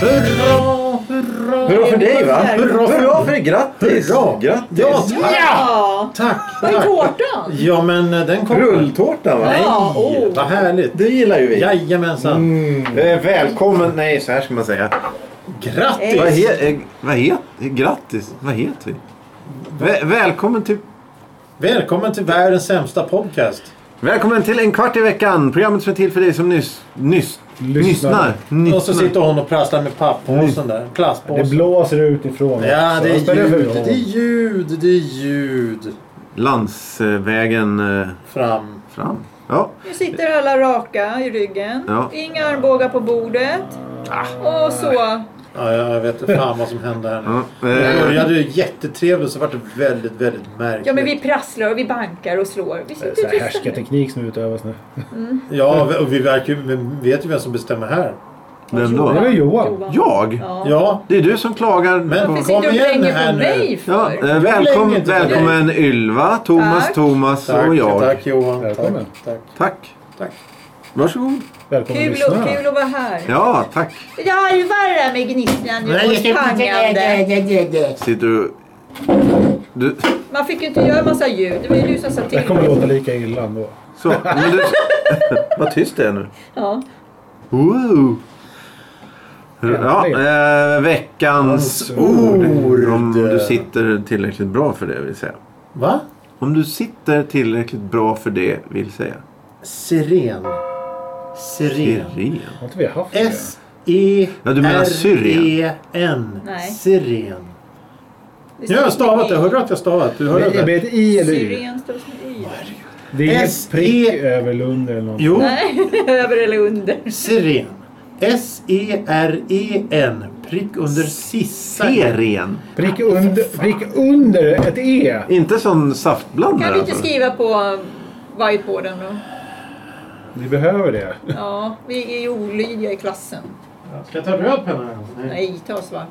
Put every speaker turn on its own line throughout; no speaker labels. Hurra, hurra!
Hurra för dig va?
Hurra för-
Hurra för dig, grattis!
Hurra!
Grattis!
Ja, tack!
Ja!
Tack!
Var är
tack.
tårtan?
Ja, men eh, den kommer.
Rulltårta va?
Nej,
Ja, oh.
vad härligt.
Det gillar ju vi.
Jajamensan.
Mm. Eh, välkommen, nej så här ska man säga.
Grattis!
Vad, he, eh, vad heter, grattis, vad heter vi? Vä- välkommen till
Välkommen till världens sämsta podcast.
Välkommen till en kvart i veckan. Programmet som är till för dig som nyss, nyss,
Lyssnar.
lyssnar.
Och så sitter hon och prasslar med papppåsen där.
Det
Plastpåsen.
blåser utifrån.
Ja, det är
Så spelar det för
ljud.
roll.
Det är ljud. Det är ljud.
Landsvägen eh,
Fram.
fram. Ja.
Nu sitter alla raka i ryggen.
Ja.
Inga armbågar på bordet. Och så.
Ja, jag vet inte fan vad som hände här nu.
Ja,
Det
eh,
började ju jättetrevligt så vart det väldigt, väldigt märkligt.
Ja men vi prasslar och vi bankar och slår. Vi
Det är så
sitter
här
tysta.
härskarteknik som utövas nu.
Ja, vi- och vi verkar ju... vi vet ju vem som bestämmer här.
Vem
Det var
då?
Johan.
Jag?
Ja.
Ja.
Det är du som klagar.
Men-
på-
Varför sitter
Kom
du och
igen
dränger
här
på
nu.
mig för?
Ja, eh,
länge
välkommen,
inte.
välkommen Ylva, Thomas,
Tack.
Thomas
Tack,
och jag.
tack Johan.
Välkommen.
Tack, tack.
Tack.
Tack.
Varsågod.
Välkommen
Kul,
lyssnarna.
och, kul att vara här.
Ja, tack.
Jag harvar det här med gnisslan nu
Nej,
och pangande.
Sitter du... du...
Man fick ju inte göra massa ljud. Det var ju du som sa
Det
till.
kommer låta lika illa ändå.
Så. Men du... Vad tyst det är nu.
Ja.
Wow. Ja, eh, veckans ord. Om du sitter tillräckligt bra för det vill säga.
Va?
Om du sitter tillräckligt bra för det vill säga.
Siren. Siren. E
Siren.
Har inte vi haft det?
Ja, du menar
S-E-R-E-N.
Nej.
Siren.
Det
Nu har jag
står
stavat det.
i.
Hörde du att jag stavat? Du hörde
Med,
det?
med ett i eller y?
Syren står som i.
Det är
S,
inget prick
E.
över Lund eller något.
Jo,
Nej, över eller under.
siren. E S-E-R-E-N. Prick under sista.
Siren.
Prick under, prick under ett e.
Inte sån saftblandare.
Kan du inte
alltså.
skriva på whiteboarden då?
Vi behöver det.
Ja, vi är ju olydiga i klassen.
Ska jag ta röd penna?
Nej, ta svart.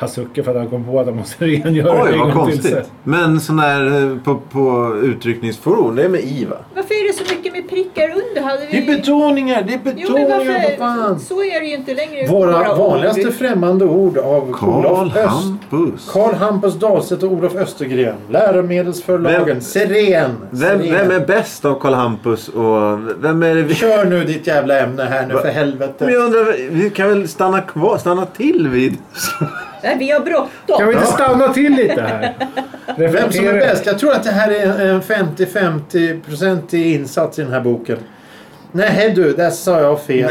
Han suckar för att han kom på att han måste rengöra
Oj,
en
vad
gång till sen.
konstigt. Men sån där eh, på, på utryckningsfordon, det är med IVA.
Varför är det så mycket med prickar under? Hade
Det är
vi...
betoningar. Det är
Jo, men
betoningar. Vad
varför?
fan.
Så är det ju inte längre.
Våra
ord.
vanligaste främmande ord av
Karl
Olof Öst.
Hampus.
Karl Hampus Dahlstedt och Olof Östergren. Läromedelsförlagen.
Vem-
Siren.
Vem,
Siren.
vem är bäst av Karl Hampus och vem är det vi...
Kör nu ditt jävla ämne här nu
Va?
för
Men
helvete.
jag undrar, vi kan väl stanna kvar, stanna till vid...
Nej, vi har bråttom.
Kan vi inte stanna till lite här?
Vem som är
Reflektera.
bäst? Jag tror att det här är en 50-50-procentig insats i den här boken. Nej du, där sa jag fel.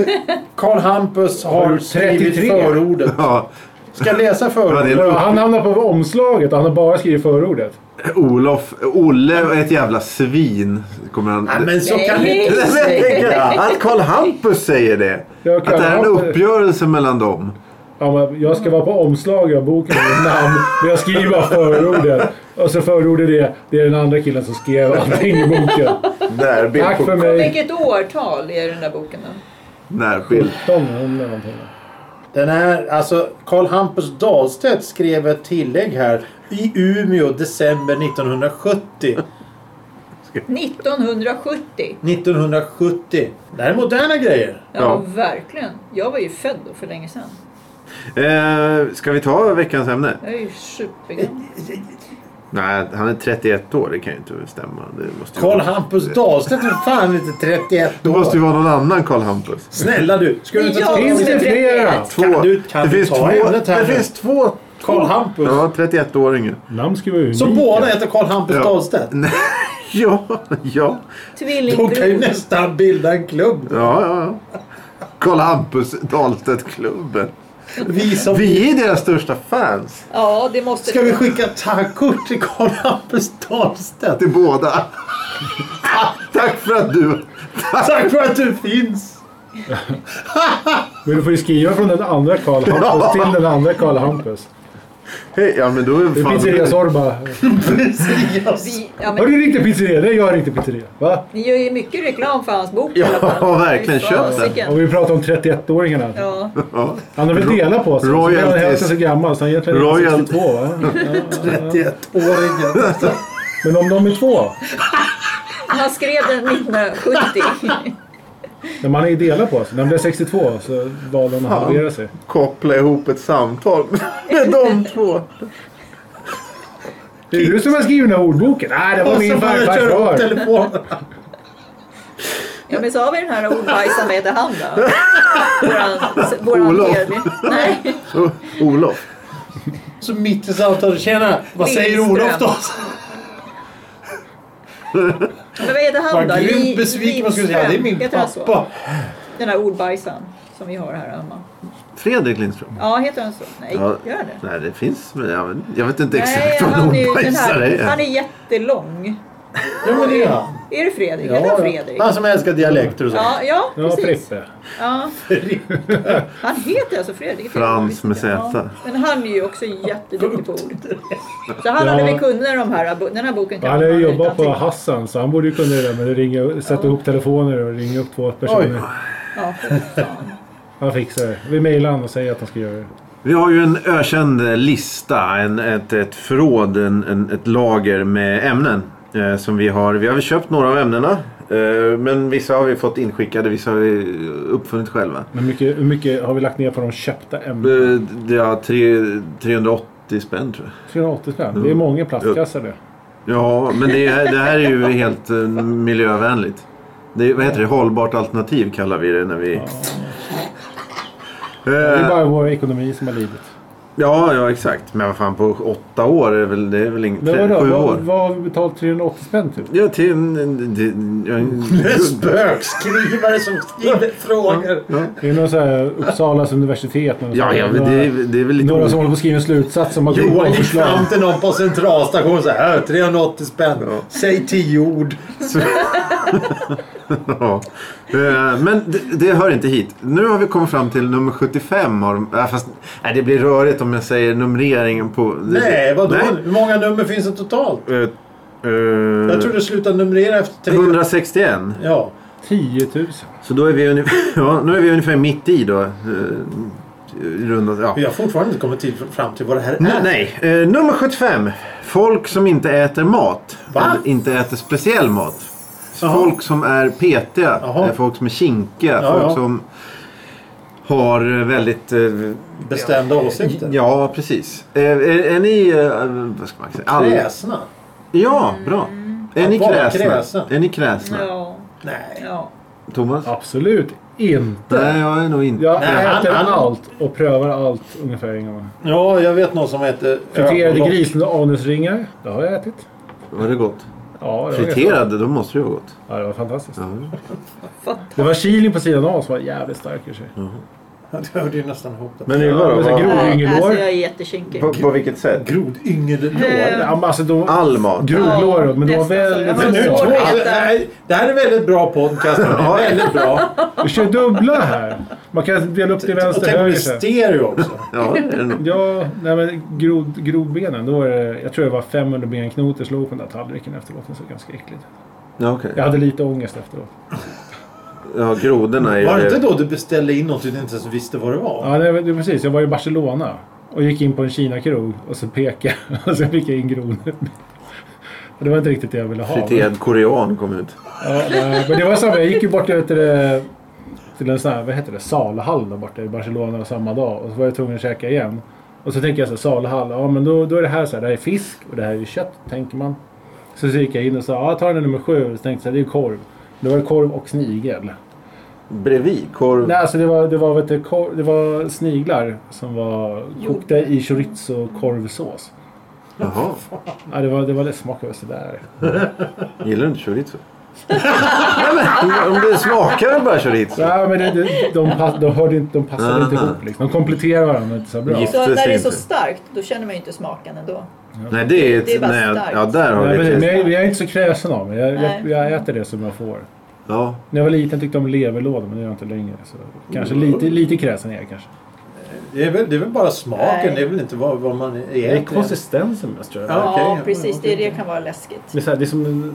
Karl Hampus
Har
har
du
skrivit
33?
förordet.
Ja,
Ska jag läsa
Ja,
förordet?
det är
Ja, Han hamnar på omslaget och han har bara skrivit förordet.
Olof, Olle är ett jävla svin. Kommer han...
Nej men så
Nej.
kan vi inte
Nej, men jag
säga.
tänker Att Karl Hampus säger det.
Ja,
Att det här är en
Karl Hampus-
uppgörelse mellan dem.
Ja, men jag ska vara på omslaget av boken med mitt namn, men jag skriver bara förordet. Och så förordet det, det är den andra killen som skrev allting i boken.
Närbild
Tack
på-
för mig.
Vilket årtal är den där boken då?
Närbild.
1700 någonting.
Den här, alltså Karl Hampus Dahlstedt skrev ett tillägg här. I Umeå december 1970.
1970.
1970. Det här är moderna grejer.
Ja,
Ja.
verkligen. Jag var ju född då för länge sedan.
Eh, ska vi ta veckans ämne?
Jag är ju supergammal.
Nej, han är 31 år. Det kan ju inte stämma. Det måste ju
Karl
vara...
Hampus Dahlstedt är fan inte 31
Det måste ju
år.
vara någon annan Karl Hampus.
Snälla du, ska du inte ta
Finns det flera?
Kan du- kan
det
du
finns
ta
två.
ämnet här
Det
nu?
finns två.
Karl Hampus?
Ja, 31-åringen.
Namn ska vara unika.
Så båda heter Karl Hampus
Ja.
Dahlstedt?
Ja, ja,
De kan ju
Tvillingbror.
nästan bilda en klubb.
ja, ja. Karl Hampus Dahlstedt-klubben.
Vi som...
Vi är deras största fans.
Ja, det måste
Ska vi skicka tackkort till Karl Hampus Dahlstedt?
Till båda. Tack för att du...
Tack för att du finns!
Men du får ju skriva från den andra Karl Hampus till den andra Karl Hampus.
Hej, ja men då är
Det är pizzeria Sorba.
Vi, ja,
Har
men,
du riktigt pizzeria? Nej, jag har riktigt pizzeria. Va?
ni gör ju mycket reklam för hans bok i
Ja,
alla fall.
verkligen.
Fy
Köp den.
fasiken.
Och vi pratar om 31-åringarna.
Ja,
Ja.
Han har väl delat på sig. Så är han
Royalties.
hälften så gammal så han är egentligen
Royal-
62 va?
31-åringen.
Men om de är två?
han skrev den 1970.
När man är delat på sig. När man blev 62 så valde han att halvera sig.
Koppla ihop ett samtal med de två.
Det är du som har skrivit den här ordboken. Nej, det var
Och
min
så börjar jag
farfars
köra upp
far.
telefonen.
Ja, men så har vi den här ordbajsaren, vad heter han då? Våran, våran
Olof.
medlem. Nej,
Så, Olof.
Så mitt i samtalet. Tjena! Vad säger
Lindström.
Olof då?
men vad heter han då?
Vad
Li-
grymt besviken man skulle säga. Det är min
Lindström, heter han så?
pappa.
Den här ordbajsaren som vi har här hemma.
Fredrik Lindström.
Ja, heter han så? Nej,
Ja.
gör han det?
Nej, det finns. Men jag, vet- jag vet inte
Nej,
exakt vad
han är, ju den
ordbajsare
här, han
är.
är jättelång.
Ja men det är han.
Är det Fredrik? Heter
Ja, Alltså,
han Fredrik?
Han som älskar dialekter och sånt.
Ja, ja
Ja,
precis.
Frippe.
Ja. Han heter alltså Fredrik.
Frans med
Ja.
Z.
Men han är ju också jätteduktig på ord. Så han hade
Ja.
väl kunnat de här, den här boken.
Han har ju
man
jobbat
utan
på
till.
Hassan så han borde ju kunna det där med att ringa, sätta ihop telefoner och ringa upp två personer.
Ja, fy fan.
Han fixar det. Vi mejlar honom och säger att han ska göra det.
Vi har ju en ökänd lista, en, ett, ett förråd, en, en, ett lager med ämnen. Eh, som vi, har, vi har väl köpt några av ämnena. Eh, men vissa har vi fått inskickade, vissa har vi uppfunnit själva.
Men mycket, hur mycket har vi lagt ner på de köpta ämnena?
Eh, Det är tre, 380 spänn tror jag.
380 spänn. Det är många plastkassar det.
Ja, men det, är- det här är ju helt eh, miljövänligt. Det, är- vad heter det? Hållbart alternativ kallar vi det när vi...
Det är
Ja,
bara vår ekonomi som har lidit.
ja, ja exakt. Men vad fan på åtta år är väl, det är väl inget...
Men vadå?
Sju
Vad,
år.
vad har vi betalat 380 spänn typ? till?
Ja, till en... en- en- en-
En
en-
spökskrivare som skriver frågor.
Det är någon så här Uppsalas universitet. Någon
Ja, ja, men det, är- det är väl lite...
Några
o-
som håller på att skriva en slutsats som har kommit på
Johan gick
förslag.
fram till någon på centralstationen och sa här 380 spänn.
Ja.
Säg 10 ord.
Ja. Eh, Men det, det hör inte hit. Nu har vi kommit fram till nummer 75. Har de, äh, fast, nej, det blir rörigt om jag säger numreringen på... det-
Nej, vadå?
Nej.
Hur många nummer finns det totalt?
Eh, eh,
Jag tror du slutade numrera efter tre.
161.
Ja.
10 000.
Så då är vi ungefär, ja, nu är vi ungefär mitt i då. eh, Runda, ja.
Vi har fortfarande inte kommit till, fram till vad det här är.
Nu, nej, eh, nummer 75. Folk som inte äter mat.
Va?
Eller Inte äter speciell mat.
Jaha.
Folk som är petiga.
Jaha.
eh, Folk som är kinkiga.
Ja,
folk
ja.
som har eh, väldigt... eh,
Bestämda åsikter.
Ja, precis. Eh, Är, är ni... eh, Vad ska man säga? All-
Kräsna?
Ja, bra. Är
Att
ni
vara
kräsna?
kräsen.
Är ni kräsna?
Ja,
Nej.
ja.
Thomas?
Absolut inte.
Nej, jag är nog inte...
Jag
Nej, han-
äter
han-
allt och prövar allt ungefär en gång.
Ja, jag vet någon som heter...
Friterade
Ögonlock.
grisar och anusringar. Det har jag ätit.
Var det gott?
Ja, det var jättebra.
Friterade, då måste det ju ha gått.
Ja, det var fantastiskt.
Ja.
Fatt-
Det var chilin på sidan av som var jävligt stark i och för sig.
Ja, det hörde ju nästan ihop det.
Men Ylva
Ja,
då?
men så
vad-
grov-
Nej,
Grovingelår.
Alltså jag är jättekinkig.
På, på vilket sätt?
Grodyngellår.
Eh,
Ja, men alltså de...
All mat.
Groglår, men de
nästan
var
så.
väldigt...
Men
Nu
Svårt
tror
väldigt-
att
jag,
äta.
nej, det här är väldigt bra podcast. men Det är väldigt bra.
Vi kör dubbla här. Man kan dela upp det i
Och
vänster
tänk på
höger sen.
stereo också.
Ja, det är det nog.
Ja, nej men grod, grodbenen. Då var det, jag tror det var 500 benknotor slog på den där tallriken efteråt. Det såg ganska äckligt
Ja, okej.
Jag hade lite ångest efteråt.
Ja, grodorna är ju...
Var det inte då du beställde in något du inte ens visste vad det var?
Ja, det, var- det, var precis. Jag var i Barcelona och gick in på en Kina-krog och så pekade jag och så fick jag in grodor. Och Det var inte riktigt det jag ville ha. Men,
Friterad korean kom ut.
ja, nej, men det var samma. Jag gick ju bort till, vet du det, till en sån här, vad heter det, salhall där borta i Barcelona samma dag. Och så var jag tvungen att käka igen. Och så tänker jag så här, salhall, ja men då, då är det här så här, det här är fisk och det här är kött, tänker man. Så, så gick jag in och sa, ja ta den nummer sju. Så tänkte jag så här, det är korv. Då var det korv och snigel.
Bredvid korv.
Nej, alltså det var, det, var, vet du, kor- det var sniglar som var kokta i chorizo-korvsås.
Jaha.
Ja, det var, det var det smakade sådär.
Gillar du inte chorizo? Nej, men, om det smakar väl bara chorizo?
Ja, men det, det, de, pass, de, hörde inte, de passade inte
Aha.
ihop. Liksom. De kompletterar varandra inte så bra.
Gift.
Så när det är
Precis
så
inte.
starkt, då känner man ju inte smaken ändå.
Nej, det är...
Det är bara
nej,
starkt.
ja, där har
Nej,
vi
men, men
det.
jag, jag är inte så kräsen av mig. Jag, jag,
Nej.
jag äter det som jag får.
Ja.
När jag var liten tyckte jag om leverlådor, men det gör jag inte längre. Så kanske lite, lite kräsen är jag kanske.
Det är väl, det är väl bara smaken,
Nej.
det är väl inte vad, vad man
Det är
egentligen...
konsistensen mest tror jag.
Ja,
Ja,
okej.
precis.
Ja, okej.
Det, det kan vara läskigt.
Det, är så här, det är som en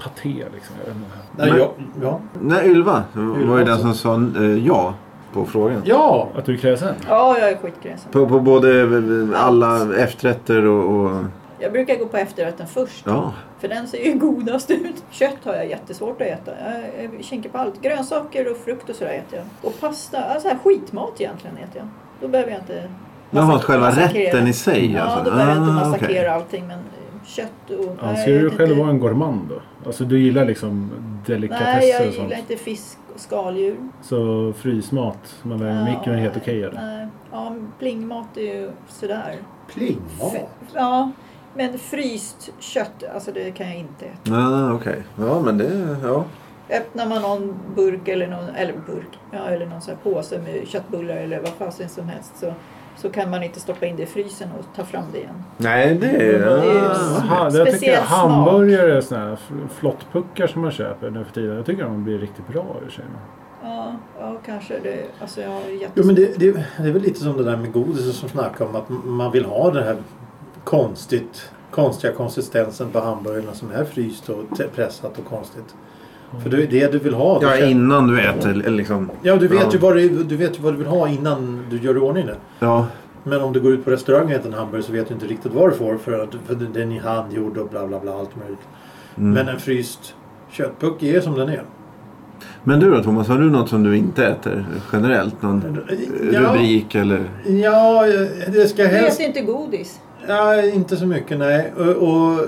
paté liksom. Jag vet inte.
Nej,
Men-
ja, ja.
Nej, Ylva var ju
Ylva
den som sa eh, ja på frågan.
ja,
Att du är kräsen?
Ja, jag är skitgräsen.
På, på både eh, alla efterrätter och... och
Jag brukar gå på efterrätten först.
ja.
För den ser ju godast ut. Kött har jag jättesvårt att äta. Jag jag kinkar på allt. Grönsaker och frukt och sådär äter jag. Och pasta, alltså här skitmat egentligen äter jag. Då behöver jag inte...
Jaha,
massak-
själva
massakrera.
rätten i sig
Ja,
alltså?
då behöver jag inte
Ah,
massakrera
okej.
allting men eh, kött och...
Anser
jag
du dig
vet
själv
inte.
vara en gourmand då? Alltså du gillar liksom
Nej, jag
delikatesser och sånt.
gillar inte fisk och skaldjur.
Så frysmat som man värmer i
Ja,
mikron är helt okej eller?
Nej. Ja, men plingmat är ju sådär.
plingmat.
Ja, men fryst kött, alltså det kan jag inte äta.
Ah, okej. Ja, men det... Ja.
Öppnar man någon burk eller någon, eller burk, ja, eller någon sån här påse med köttbullar eller vad fasen som helst så, så kan man inte stoppa in det i frysen och ta fram det igen.
Nej, det är...
Det är ju
Aha, jag tycker
speciell
jag
smak.
hamburgare och såna här fl- flottpuckar som man köper nu för tiden. Jag tycker de blir riktigt bra i och för sig.
Ja, ja kanske det. Alltså jag har jättesvårt.
Jo, men det, det, det är väl lite som det där med godis som snackar om att m- man vill ha den här konstigt, konstiga konsistensen på hamburgarna som är fryst och te- pressat och konstigt. För det är det du vill ha. Du
Ja,
känner-
innan du äter eller liksom.
ja du, vet
Ja.
Ju vad du, du vet ju vad du vill ha innan du gör i ordning det.
Ja.
Men om du går ut på restaurang och äter en hamburgare så vet du inte riktigt vad du får för, att, för den är handgjord och bla bla bla allt möjligt.
Mm.
Men en fryst köttpuck är som den är.
Men du då Thomas, har du något som du inte äter generellt? Någon
Ja,
rubrik eller?
Ja, det ska
Jag
helst
äter inte godis.
Nej, inte så mycket nej. Och, och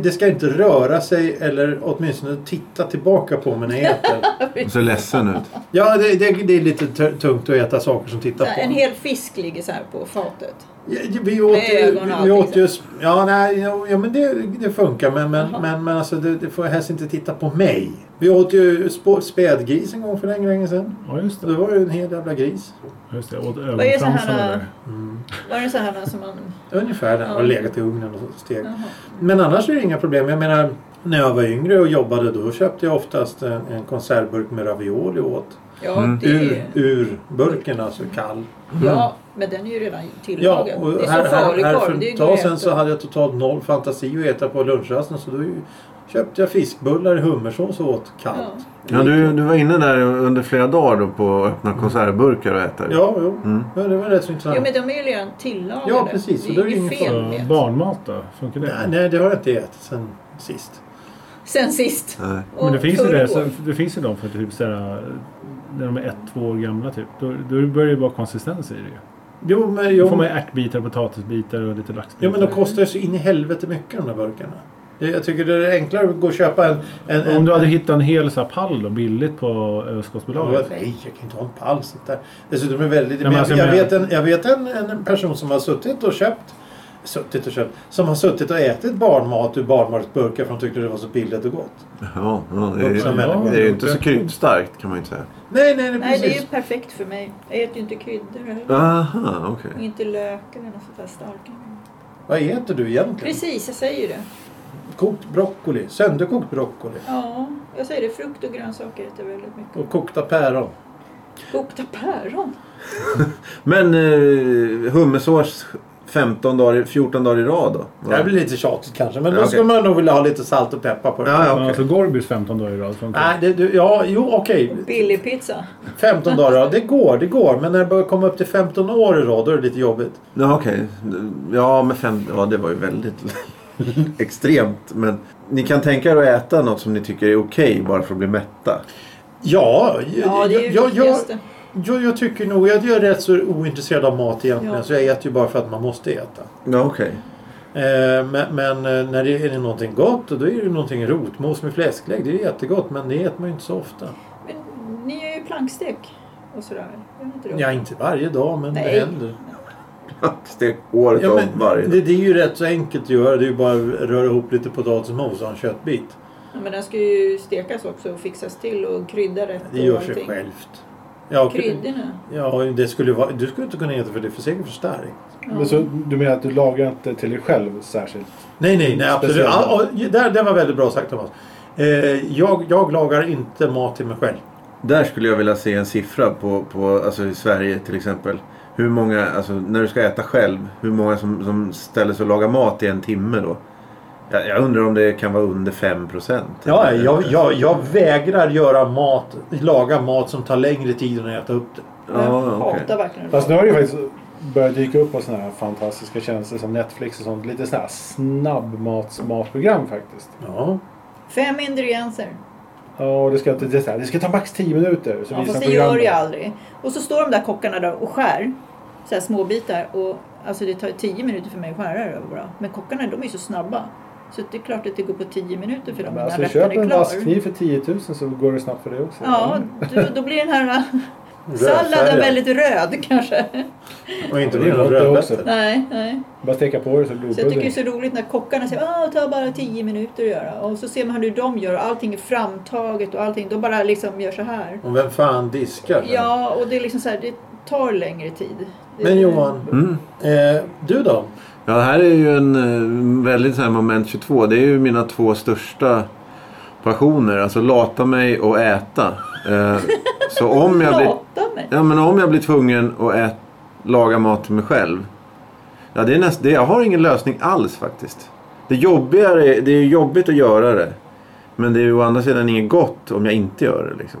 det ska inte röra sig eller åtminstone titta tillbaka på mig när jag äter.
Du ser ledsen ut.
ja, det, det, det är lite t- tungt att äta saker som tittar
Så här,
på
En
en.
hel fisk ligger så här på fatet.
Ja, Vi åt,
Med ögon
vi,
och
vi
allting
åt
så.
just... Ja, nej, ja, ja, men det, det funkar. Men, men,
Jaha.
men, men alltså, det, det får helst inte titta på mig. Vi åt ju spå- spädgris en gång för länge, länge sedan.
Ja just
Så det
det.
var ju en hel jävla gris.
Just det. Jag åt
är sån här, eh,
ögonfransarna där.
Var det så här som man...
Ungefär den
Ja.
har legat i ugnen och steg.
Jaha.
Men annars är det inga problem. Jag menar, när jag var yngre och jobbade då köpte jag oftast en, en konservburk med ravioli åt.
Ja,
Mm.
det är
Ur, ur burken, alltså kall.
Ja, men den är ju redan
Ja,
tillagad. det
och
är
här,
som
här, här
falukorv.
för
Det är ju
ett
går
tag
att äta.
sedan så hade jag totalt noll fantasi att äta på lunchrasten så då ju- köpte jag fiskbullar i hummersås och åt kallt.
Ja, du, du var inne där under flera dagar då på att öppna konservburkar och äta.
Ja, jo.
Mm.
Ja, det var rätt så intressant.
Jo, men de är ju redan tillagade.
Ja, precis, så
Det
då
är
är det
ju
ingen
fel
Så,
med.
Barnmat då? Funkar det?
nej, nej, det har jag inte ätit sen sist.
Sen sist.
Nej.
Men det
Och
finns, ju det,
förrgår.
så- det finns ju de för typ såhär, när de är ett, två år gamla typ. Då, då börjar det vara konsistens i det ju.
Jo, men,
Då får
jo,
man ju ärtbitar, potatisbitar och lite laxbitar.
jo, men de kostar ju så in i helvete mycket de där burkarna. Det- Jag tycker det är enklare att gå och köpa en... en, en
Om du hade hittat en hel så här pall då, billigt på
Ja,
överskottsbolaget.
jag- Nej, jag kan inte ha en pall sånt där. Dessutom är det väldigt...
Nej, men alltså,
jag, jag
men-
vet, en, jag vet en, en person som har suttit och köpt... Suttit och köpt? Som har suttit och ätit barnmat ur barnmatsburkar för de tyckte det var så billigt och gott.
Ja, ja, det,
Vuxna
är,
människor.
det är ju inte så kryddstarkt kan man ju inte säga.
Nej, nej, nej
Nej, det är
precis.
ju perfekt för mig. Jag äter ju inte kryddor heller.
Aha, okej.
Och Inte lök eller något sånt där starkare.
Vad äter du egentligen?
Precis, jag säger ju det.
Kokt broccoli. Sönderkokt broccoli.
Ja, jag säger det. Frukt och grönsaker äter jag väldigt mycket.
Och kokta päron.
Kokta päron.
Men eh, hummersås 15 dagar, i- 14 dagar i rad då?
Det här blir lite tjatigt kanske. Men då
Ja, okej.
ska man nog vilja ha lite salt och peppar på det.
Ja, ja,
Ja,
okej.
alltså Gorbys 15 dagar i rad funkar.
Nej, det, du, ja, jo, okej.
Billig pizza.
15 dagar, ja, det går, det går. Men när det börjar komma upp till 15 år i rad, då är det lite jobbigt.
Ja, okej. Ja, men fem... Ja, det var ju väldigt extremt. Men ni kan tänka er att äta något som ni tycker är okej bara för att bli mätta.
Ja,
Ja, det är ju
jag, jag,
viktigaste.
Jag, jag tycker nog, jag jag är rätt så ointresserad av mat egentligen
Ja.
så jag äter ju bara för att man måste äta.
Ja, okej.
Eh, men men eh, när det är någonting gott och då är det ju någonting rotmos med fläsklägg. Det är ju jättegott men det äter man ju inte så ofta.
Men ni gör ju plankstek och sådär. Gör inte det?
Ja, inte varje dag men
Nej.
det händer.
Stek året
Ja,
om
men
varje
det, det är ju rätt så enkelt att göra. Det är ju bara att röra ihop lite potatismos och en köttbit.
Ja, men den ska ju stekas också och fixas till och krydda rätt
Det gör
och
sig
allting.
självt. Ja, och-
Kryddorna.
ja, det skulle vara, du skulle inte kunna äta för det är för säkert för starkt.
Ja.
Men så, du menar att du lagar inte till dig själv särskilt?
Nej, nej, nej absolut.
Speciellt.
Ja, och, där, det var väldigt bra sagt Thomas. Eh, jag, jag lagar inte mat till mig själv.
Där skulle jag vilja se en siffra på, på alltså i Sverige till exempel. Hur många, alltså när du ska äta själv, hur många som, som ställer sig och lagar mat i en timme då? Jag, jag undrar om det kan vara under 5 procent.
Ja, jag, jag, jag vägrar göra mat, laga mat som tar längre tid än att äta upp det.
Ja,
jag
okej.
hatar verkligen
Fast nu har det ju faktiskt börjat dyka upp på sådana här fantastiska tjänster som Netflix och sånt. Lite sådana här snabbmatsmatprogram faktiskt.
Ja.
Fem ingredienser.
Ja, och det ska, det, är så här, det ska ta max 10 minuter. Så
Ja,
visar
fast det
programmet.
gör jag aldrig. Och så står de där kockarna där och skär så här små bitar och alltså det tar ju 10 minuter för mig att skära det bara. Men kockarna de är ju så snabba. Så det är klart att det går på 10 minuter för dem
Men
innan
alltså,
rätten
köp
är
en
klar.
vaskkniv för 10 000 så går det snabbt för det också.
Ja, då, då blir den här salladen
Rödfärgad.
väldigt röd kanske.
Och inte
Det är
blir någon
gott det också.
rödbetor.
Nej, nej.
Bara steka på det så blir
Så
det
jag tycker det är
blodpudding.
så roligt när kockarna säger att det tar bara 10 minuter att göra. Och så ser man hur de gör och allting är framtaget och allting. De bara liksom gör så här.
Och vem fan diskar?
Ja, och det är liksom så här, det tar längre tid. Det-
Men Johan,
Mm.
eh, du då?
Ja, det här är ju en eh, väldigt så här moment 22. Det är ju mina två största passioner. Alltså lata mig och äta. Eh, Så om jag blir,
Lata mig.
ja, men om jag blir tvungen att ät, laga mat till mig själv. Ja, det är näst, det, jag har ingen lösning alls faktiskt. Det, jobbigare, det är jobbigt att göra det. Men det är ju å andra sidan inget gott om jag inte gör det. Liksom.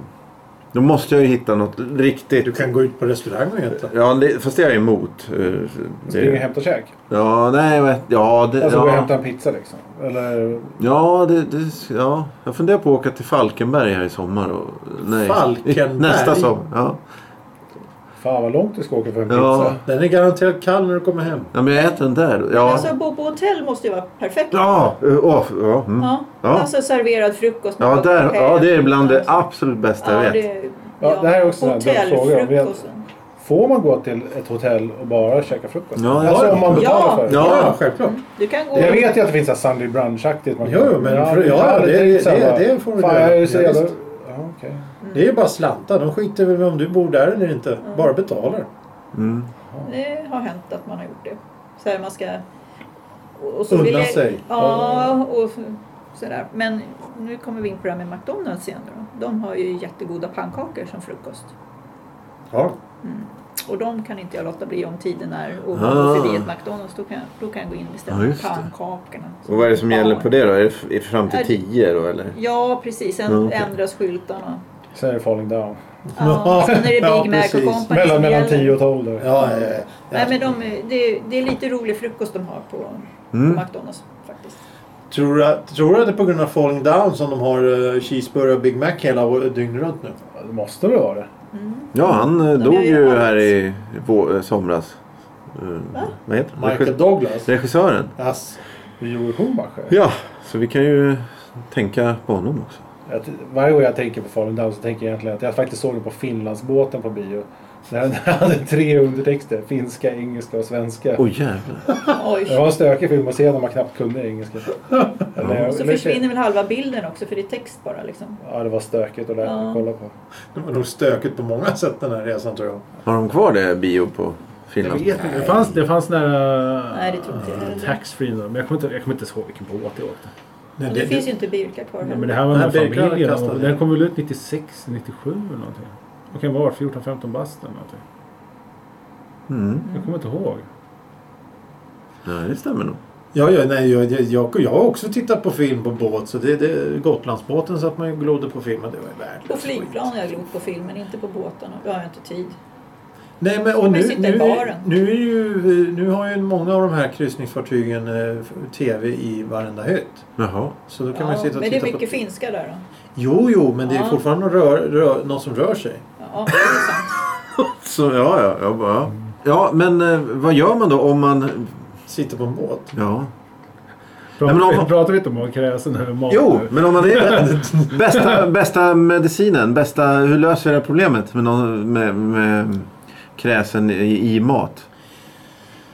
Då måste jag ju hitta något riktigt.
Du kan gå ut på restaurang och äta.
Ja, det, fast det är jag emot. Eh,
Springa och
Det,
hämta käk.
ja, nej, jag vet- ja, det,
Alltså gå och
ja.
hämta en pizza liksom. Eller
Ja, det, det, ja, jag funderar på att åka till Falkenberg här i sommar. Och, nej,
Falkenberg?
Nästa sommar. Ja.
fan vad långt du ska åka för en pizza.
Ja.
Den är garanterat kall när du kommer hem.
ja, men jag äter den där. Ja,
Alltså bo på hotell måste ju vara perfekt.
ja, eh, åh, ja, mm.
Ja.
Ja.
Alltså serverad frukost. med
ja,
gott
där,
café.
ja, det är bland det absolut bästa
Ja,
jag
det,
vet.
Ja, det här är också en sån här dum fråga.
Hotellfrukosten.
Får man gå till ett hotell och bara käka frukost?
Ja,
alltså
ja.
om man betalar
Ja.
för det.
Ja.
självklart.
Mm. Du kan gå...
Jag vet ju att det finns så här Sunday Brunch-aktigt. man
Jo,
kan-
jo, men för- ja,
jag
det-
tänker
det-
så här
det-
bara,
det får du
Fan,
göra.
jag är så
Ja,
jävla...
visst.
Ja, okej.
Det är ju bara slantar. De skiter väl i om du bor där eller inte. Bara betalar.
Mm.
Det har hänt att man har gjort det. Så här, man ska... och- och
Unna
jag-
sig.
Ja, och sådär. Men nu kommer vi in på det här med McDonalds igen då. De har ju jättegoda pannkakor som frukost.
Ja.
Och de kan inte jag låta bli om tiden är och
Ah.
man går förbi ett McDonalds. Då kan, jag, då kan jag gå in och beställa
Ja, just det.
pannkakorna.
Och vad är det som gäller på det då? Är det f- är det fram till
Är det-
10 då eller?
Ja, precis. Sen
Ja, okej.
ändras skyltarna.
Sen är det falling down.
Ja, sen är det Big
Ja,
Mac
precis.
och company
Mellan,
som
mellan
gäller.
10 och 12 där.
Ja, ja, ja.
Nej, men de, är- det, är- det är lite rolig frukost de har på, på
Mm.
McDonalds faktiskt.
Tror du tror du att det är på grund av falling down som de har uh, cheeseburgare och Big Mac hela år- dygnet runt nu?
Ja, Det måste väl vara det.
Mm.
Ja, han eh,
De
dog
gör ju
ju
allt.
här i i vå- eh, somras. Eh, Vad heter han?
Michael
Regi-
Douglas?
Regissören.
Yes.
Joel Schumacher.
Ja, så vi kan ju tänka på honom också.
Jag, varje gång jag tänker på Falling Down så tänker jag egentligen att jag faktiskt såg den på Finlandsbåten på bio. När den hade tre undertexter. Finska, engelska och svenska.
Åh jävlar.
Det
Oj.
var en stökig film att se när man knappt kunde engelska. Eller,
Och så
eller-
försvinner väl halva bilden också för det är text bara liksom.
Ja, det var stökigt att lära
Ja.
att kolla på.
Det var nog stökigt på många sätt den här resan tror jag.
Har de kvar det bio på Finland?
Det fanns, det fanns nära...
Nej, det tror inte jag heller.
Taxfree då, men jag kommer inte, jag kommer inte ens ihåg vilken båt jag åkte.
Nej,
Och det, finns ju inte Birka kvar
Nej,
heller.
men det här var
Nej,
med
Birkan
familjen.
kastade
och-
ner.
Den kom väl ut 96, 97 eller någonting. Vad kan det vara? 14-15 bast eller någonting.
Mm.
Jag kommer inte ihåg.
Ja, det stämmer nog.
Ja, ja, nej, jag, jag, jag, jag har också tittat på film på båt. Så det, det, Gotlandsbåten satt man ju och glodde på film och det var ju värdelöst.
På flygplan har jag glott på filmen, inte på båtarna. Då har jag inte tid.
Nej, men och
Man
nu,
sitter
nu,
i baren.
nu, är ju, nu har ju många av de här kryssningsfartygen eh, tv i varenda hytt.
Jaha.
Så då kan man ju
Ja,
sitta och
men det är
titta
mycket
på...
finska där då.
Jo, jo, men det är
Ja.
fortfarande någon, rör, rör, någon som rör sig.
Ja, det är sant.
Så, ja, ja, ja, bara, ja. ja, men eh, vad gör man då om man...
Sitter på en båt.
Ja.
Pratar,
men om-
vi, pratar vi inte om att kräsa över mat
Jo,
nu?
men om man är... bästa, bästa medicinen, bästa... Hur löser vi det här problemet med, någon, med, med kräsen i, i mat?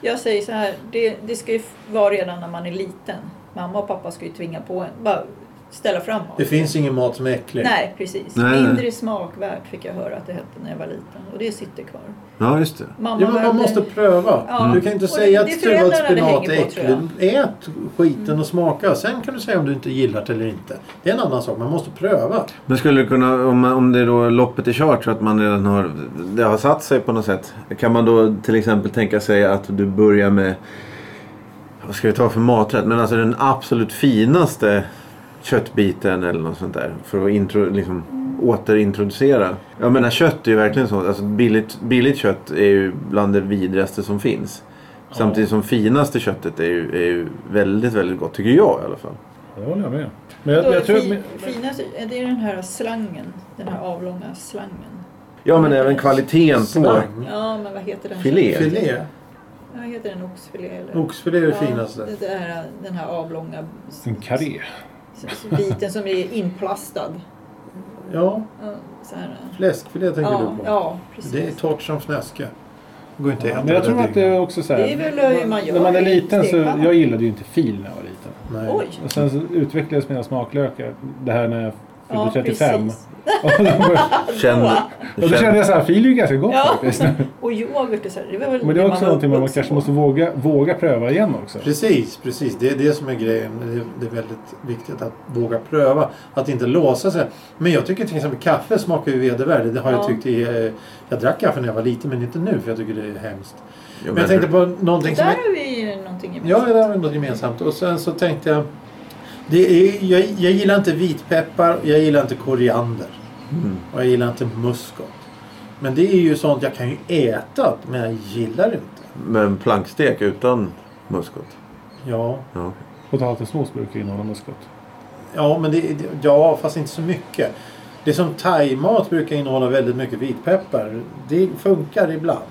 Jag säger så här, det, det ska ju f- vara redan när man är liten. Mamma och pappa ska ju tvinga på en. Bara, ställa fram mat.
Det finns ingen mat som är äcklig.
Nej, precis.
Nej, nej.
Mindre smakvärt fick jag höra att det hette när jag var liten. Och det sitter kvar.
Ja, just det.
Mamma
Ja, men man
behövde-
måste pröva.
Ja.
Du kan inte
Och
säga
det är
att stuvad
föräldrarna
spenat
det
är
hänger på, tror Mm.
äcklig. Ät skiten och smaka. Sen kan du säga om du inte gillar det eller inte. Det är en annan sak. Man måste pröva.
Men skulle det kunna, om, man- om det då loppet är kört så att man redan har, det har satt sig på något sätt. Kan man då till exempel tänka sig att du börjar med, vad ska vi ta för maträtt? Men alltså den absolut finaste köttbiten eller något sånt där. För att intro, liksom, återintroducera. Jag menar kött är ju verkligen så. Alltså billigt, billigt kött är ju bland det vidrigaste som finns. Samtidigt som finaste köttet är ju, är ju väldigt, väldigt gott. Tycker jag i alla fall.
Ja, Det håller jag med om. Men jag,
Då,
jag tror...
fi-
men-
finaste, det är den här slangen. Den här avlånga slangen.
Ja men även kvaliteten på
Slang.
Ja, men vad heter den?
filé.
Mm. Filé.
Ja, heter den oxfilé? Eller?
Oxfilé är det
Ja,
finaste.
det- Det här, den här avlånga s-
En karé.
s- biten som är inplastad.
Ja,
Ja, Så här.
fläskfilé tänker
Ja,
du på.
ja, precis.
Det är torrt som fnöske. Det går inte att äta
Men jag
det där
tror att det
dygnet.
är också så här.
Det är väl hur man gör
När man är
i
liten så...
stekpannan.
Jag gillade ju inte fil när jag var liten.
Nej.
Oj!
Och sen så utvecklades mina smaklökar. Det här när jag fyllde
Ja,
35.
precis.
Känn,
Och då kände jag så här, fil är ju ganska gott
Ja.
faktiskt.
Och yoghurt och så. här, Det var väl
Men det är också
var
någonting man, man
uppvuxen
kanske
på.
måste våga, våga pröva igen också.
Precis, precis. Det är det som är grejen. Det- Det är väldigt viktigt att våga pröva. Att inte låsa sig. Men jag tycker till exempel kaffe smakar ju vedervärdigt. Det har jag
Ja.
tyckt i... eh, Jag drack kaffe när jag var liten men inte nu för jag tycker det är hemskt.
Jo,
Men jag tänkte på någonting
Där
som... är-
har vi ju någonting gemensamt.
Ja, det har vi något gemensamt. Och sen så tänkte jag... Det är, jag, jag gillar inte vitpeppar, jag gillar inte koriander.
Mm.
Och jag gillar inte muskot. Men det är ju sånt jag kan ju äta, men jag gillar inte.
Men plankstek utan muskot?
Ja,
Ja.
Potatismos brukar innehålla muskot.
ja men det, det- ja, fast inte så mycket. Det är som thaimat brukar innehålla väldigt mycket vitpeppar. Det funkar ibland.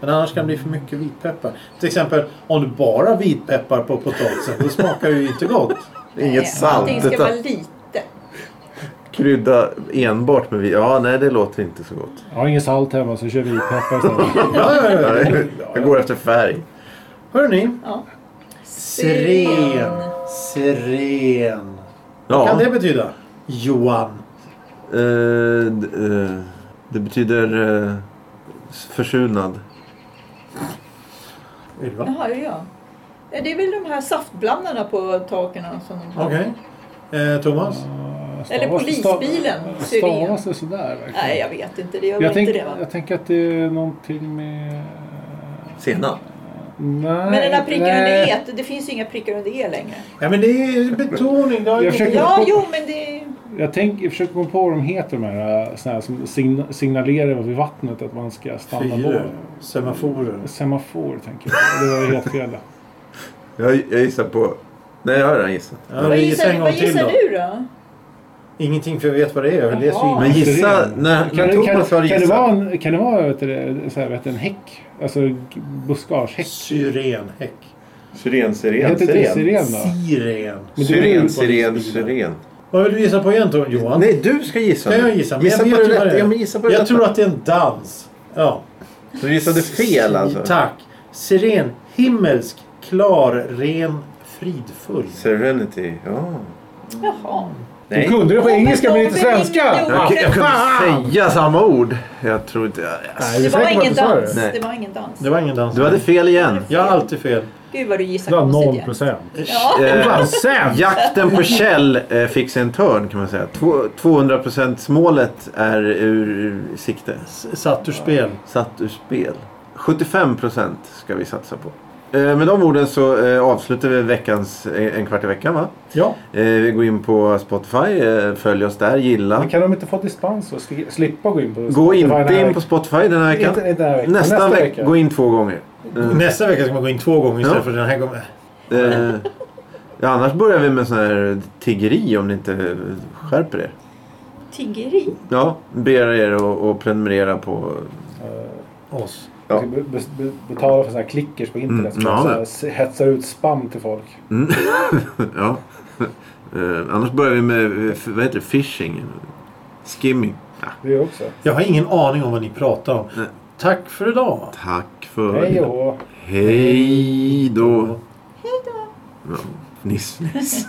Men annars kan det bli för mycket vitpeppar. Till exempel om du bara vitpeppar på potatisen, då smakar det ju inte gott.
Inget
Nej,
salt.
Allting ska
utan
vara lite.
Krydda enbart med vi. Ja, nej det låter inte så gott.
Jag har inget salt hemma så kör vi peppar istället.
Ja, ja, ja, ja.
Nej, jag går efter färg.
Hörrni.
Ja.
Siren. Siren. Vad
Ja,
kan det betyda? Johan.
eh, d- eh, det betyder eh, försunad.
Ylva.
Jaha, är det jag? Ja, Det är väl de här saftblandarna på taken som de har.
Okej. Eh, Thomas?
Eller polisbilen, syren.
Stavas det sådär verkligen?
Nej, jag vet inte. Det gör
jag,
väl inte det
tänk,
va?
jag tänker att det är någonting med...
Senap?
Nej.
Men den här pricken
nej.
under E, det finns ju inga prickar under E längre.
Ja men det är betoning. Det har
Jag försöker-
Ja, jo, men det...
Jag, tänk, jag försöker komma på vad de heter de här såna här som sign- signalerar vid vattnet att man ska stanna
Fyror.
på.
Semaforer.
Semafor tänker jag. Det var helt fel.
Jag, jag gissar på... Nej, jag har redan gissat.
Ja,
Vad
vi gissar
gissar,
en
vad
gång till
gissar
då.
du då?
Ingenting för jag vet vad det är. Jag läser ju
Jaha.
Men
innantill.
gissa när,
Kan,
när
det- kan,
Thomas har
kan det
gissat.
vara en, kan det vara, vet du, så här, vet du, en häck? Alltså g- buskagehäck?
Syrenhäck.
Syren,
Det
siren,
heter inte siren då?
Siren.
Men det är
Syren,
ju-
siren, syren.
Vad vill du gissa på igen då, Johan?
Nej, du ska gissa.
Kan
nu.
jag gissa? Men
Gissa
jag
på
vet
det
ju vad
rätta.
det är.
Ja, men gissa på det
Jag
rätta.
tror att det är en dans. Ja.
Du gissade fel alltså.
Tack. Siren. Himmelsk. Klar. Ren. Fridfull.
Serenity, ja.
Jaha.
Du kunde det på
Ja, men
engelska
de
men inte
beringade
svenska!
ordet.
Jag,
Ah,
kan- jag kunde
fan!
inte säga samma ord. Jag tror inte... jag-
Nej,
Det
du
var
säker på att
ingen
du sa
dans.
Nej.
Det var ingen dans.
Det var ingen dans.
Du hade fel igen.
Jag har alltid fel.
Gud vad du gissar
Det var
konstigt
0
igen.
procent.
Ja.
Eh,
Fan sämst!
jakten på Kjell eh, fick sig en törn kan man säga. Två- 200% målet är ur sikte.
S- Satt ur spel.
Satt ur spel. 75% ska vi satsa på. Eh, med de orden så eh, avslutar vi veckans eh, En kvart i veckan va?
Ja.
Eh, vi går in på Spotify, eh, följ oss där, gilla.
Men kan de inte få dispens och sli- slippa gå in på
Gå
Spotify den
inte
här
in på Spotify den här
veckan?
veckan.
Inte, inte den här veckan.
Nästa,
Nästa Mm.
vecka, gå in två gånger. Eh,
Mm. Nästa vecka ska man gå in två gånger istället
Ja.
för den här gången.
Eh, ja, annars börjar vi med sån här tiggeri om ni inte skärper er.
Tiggeri.
Ja, ber er att att prenumerera på...
Oss.
Ja.
Ja. Eh, Be, be, be, betala för såna här klickers på internet som
Mm, ja.
så här, s- hetsar ut spam till folk.
Ja. Eh, annars börjar vi med, eh, f- vad heter det, phishing? Skimming. Ja,
Det är också.
Jag har ingen aning om vad ni pratar om.
Nej.
Tack för idag.
tack för...
Hej och hå.
Hej då.
Hej då.
Ja. Fniss, fniss.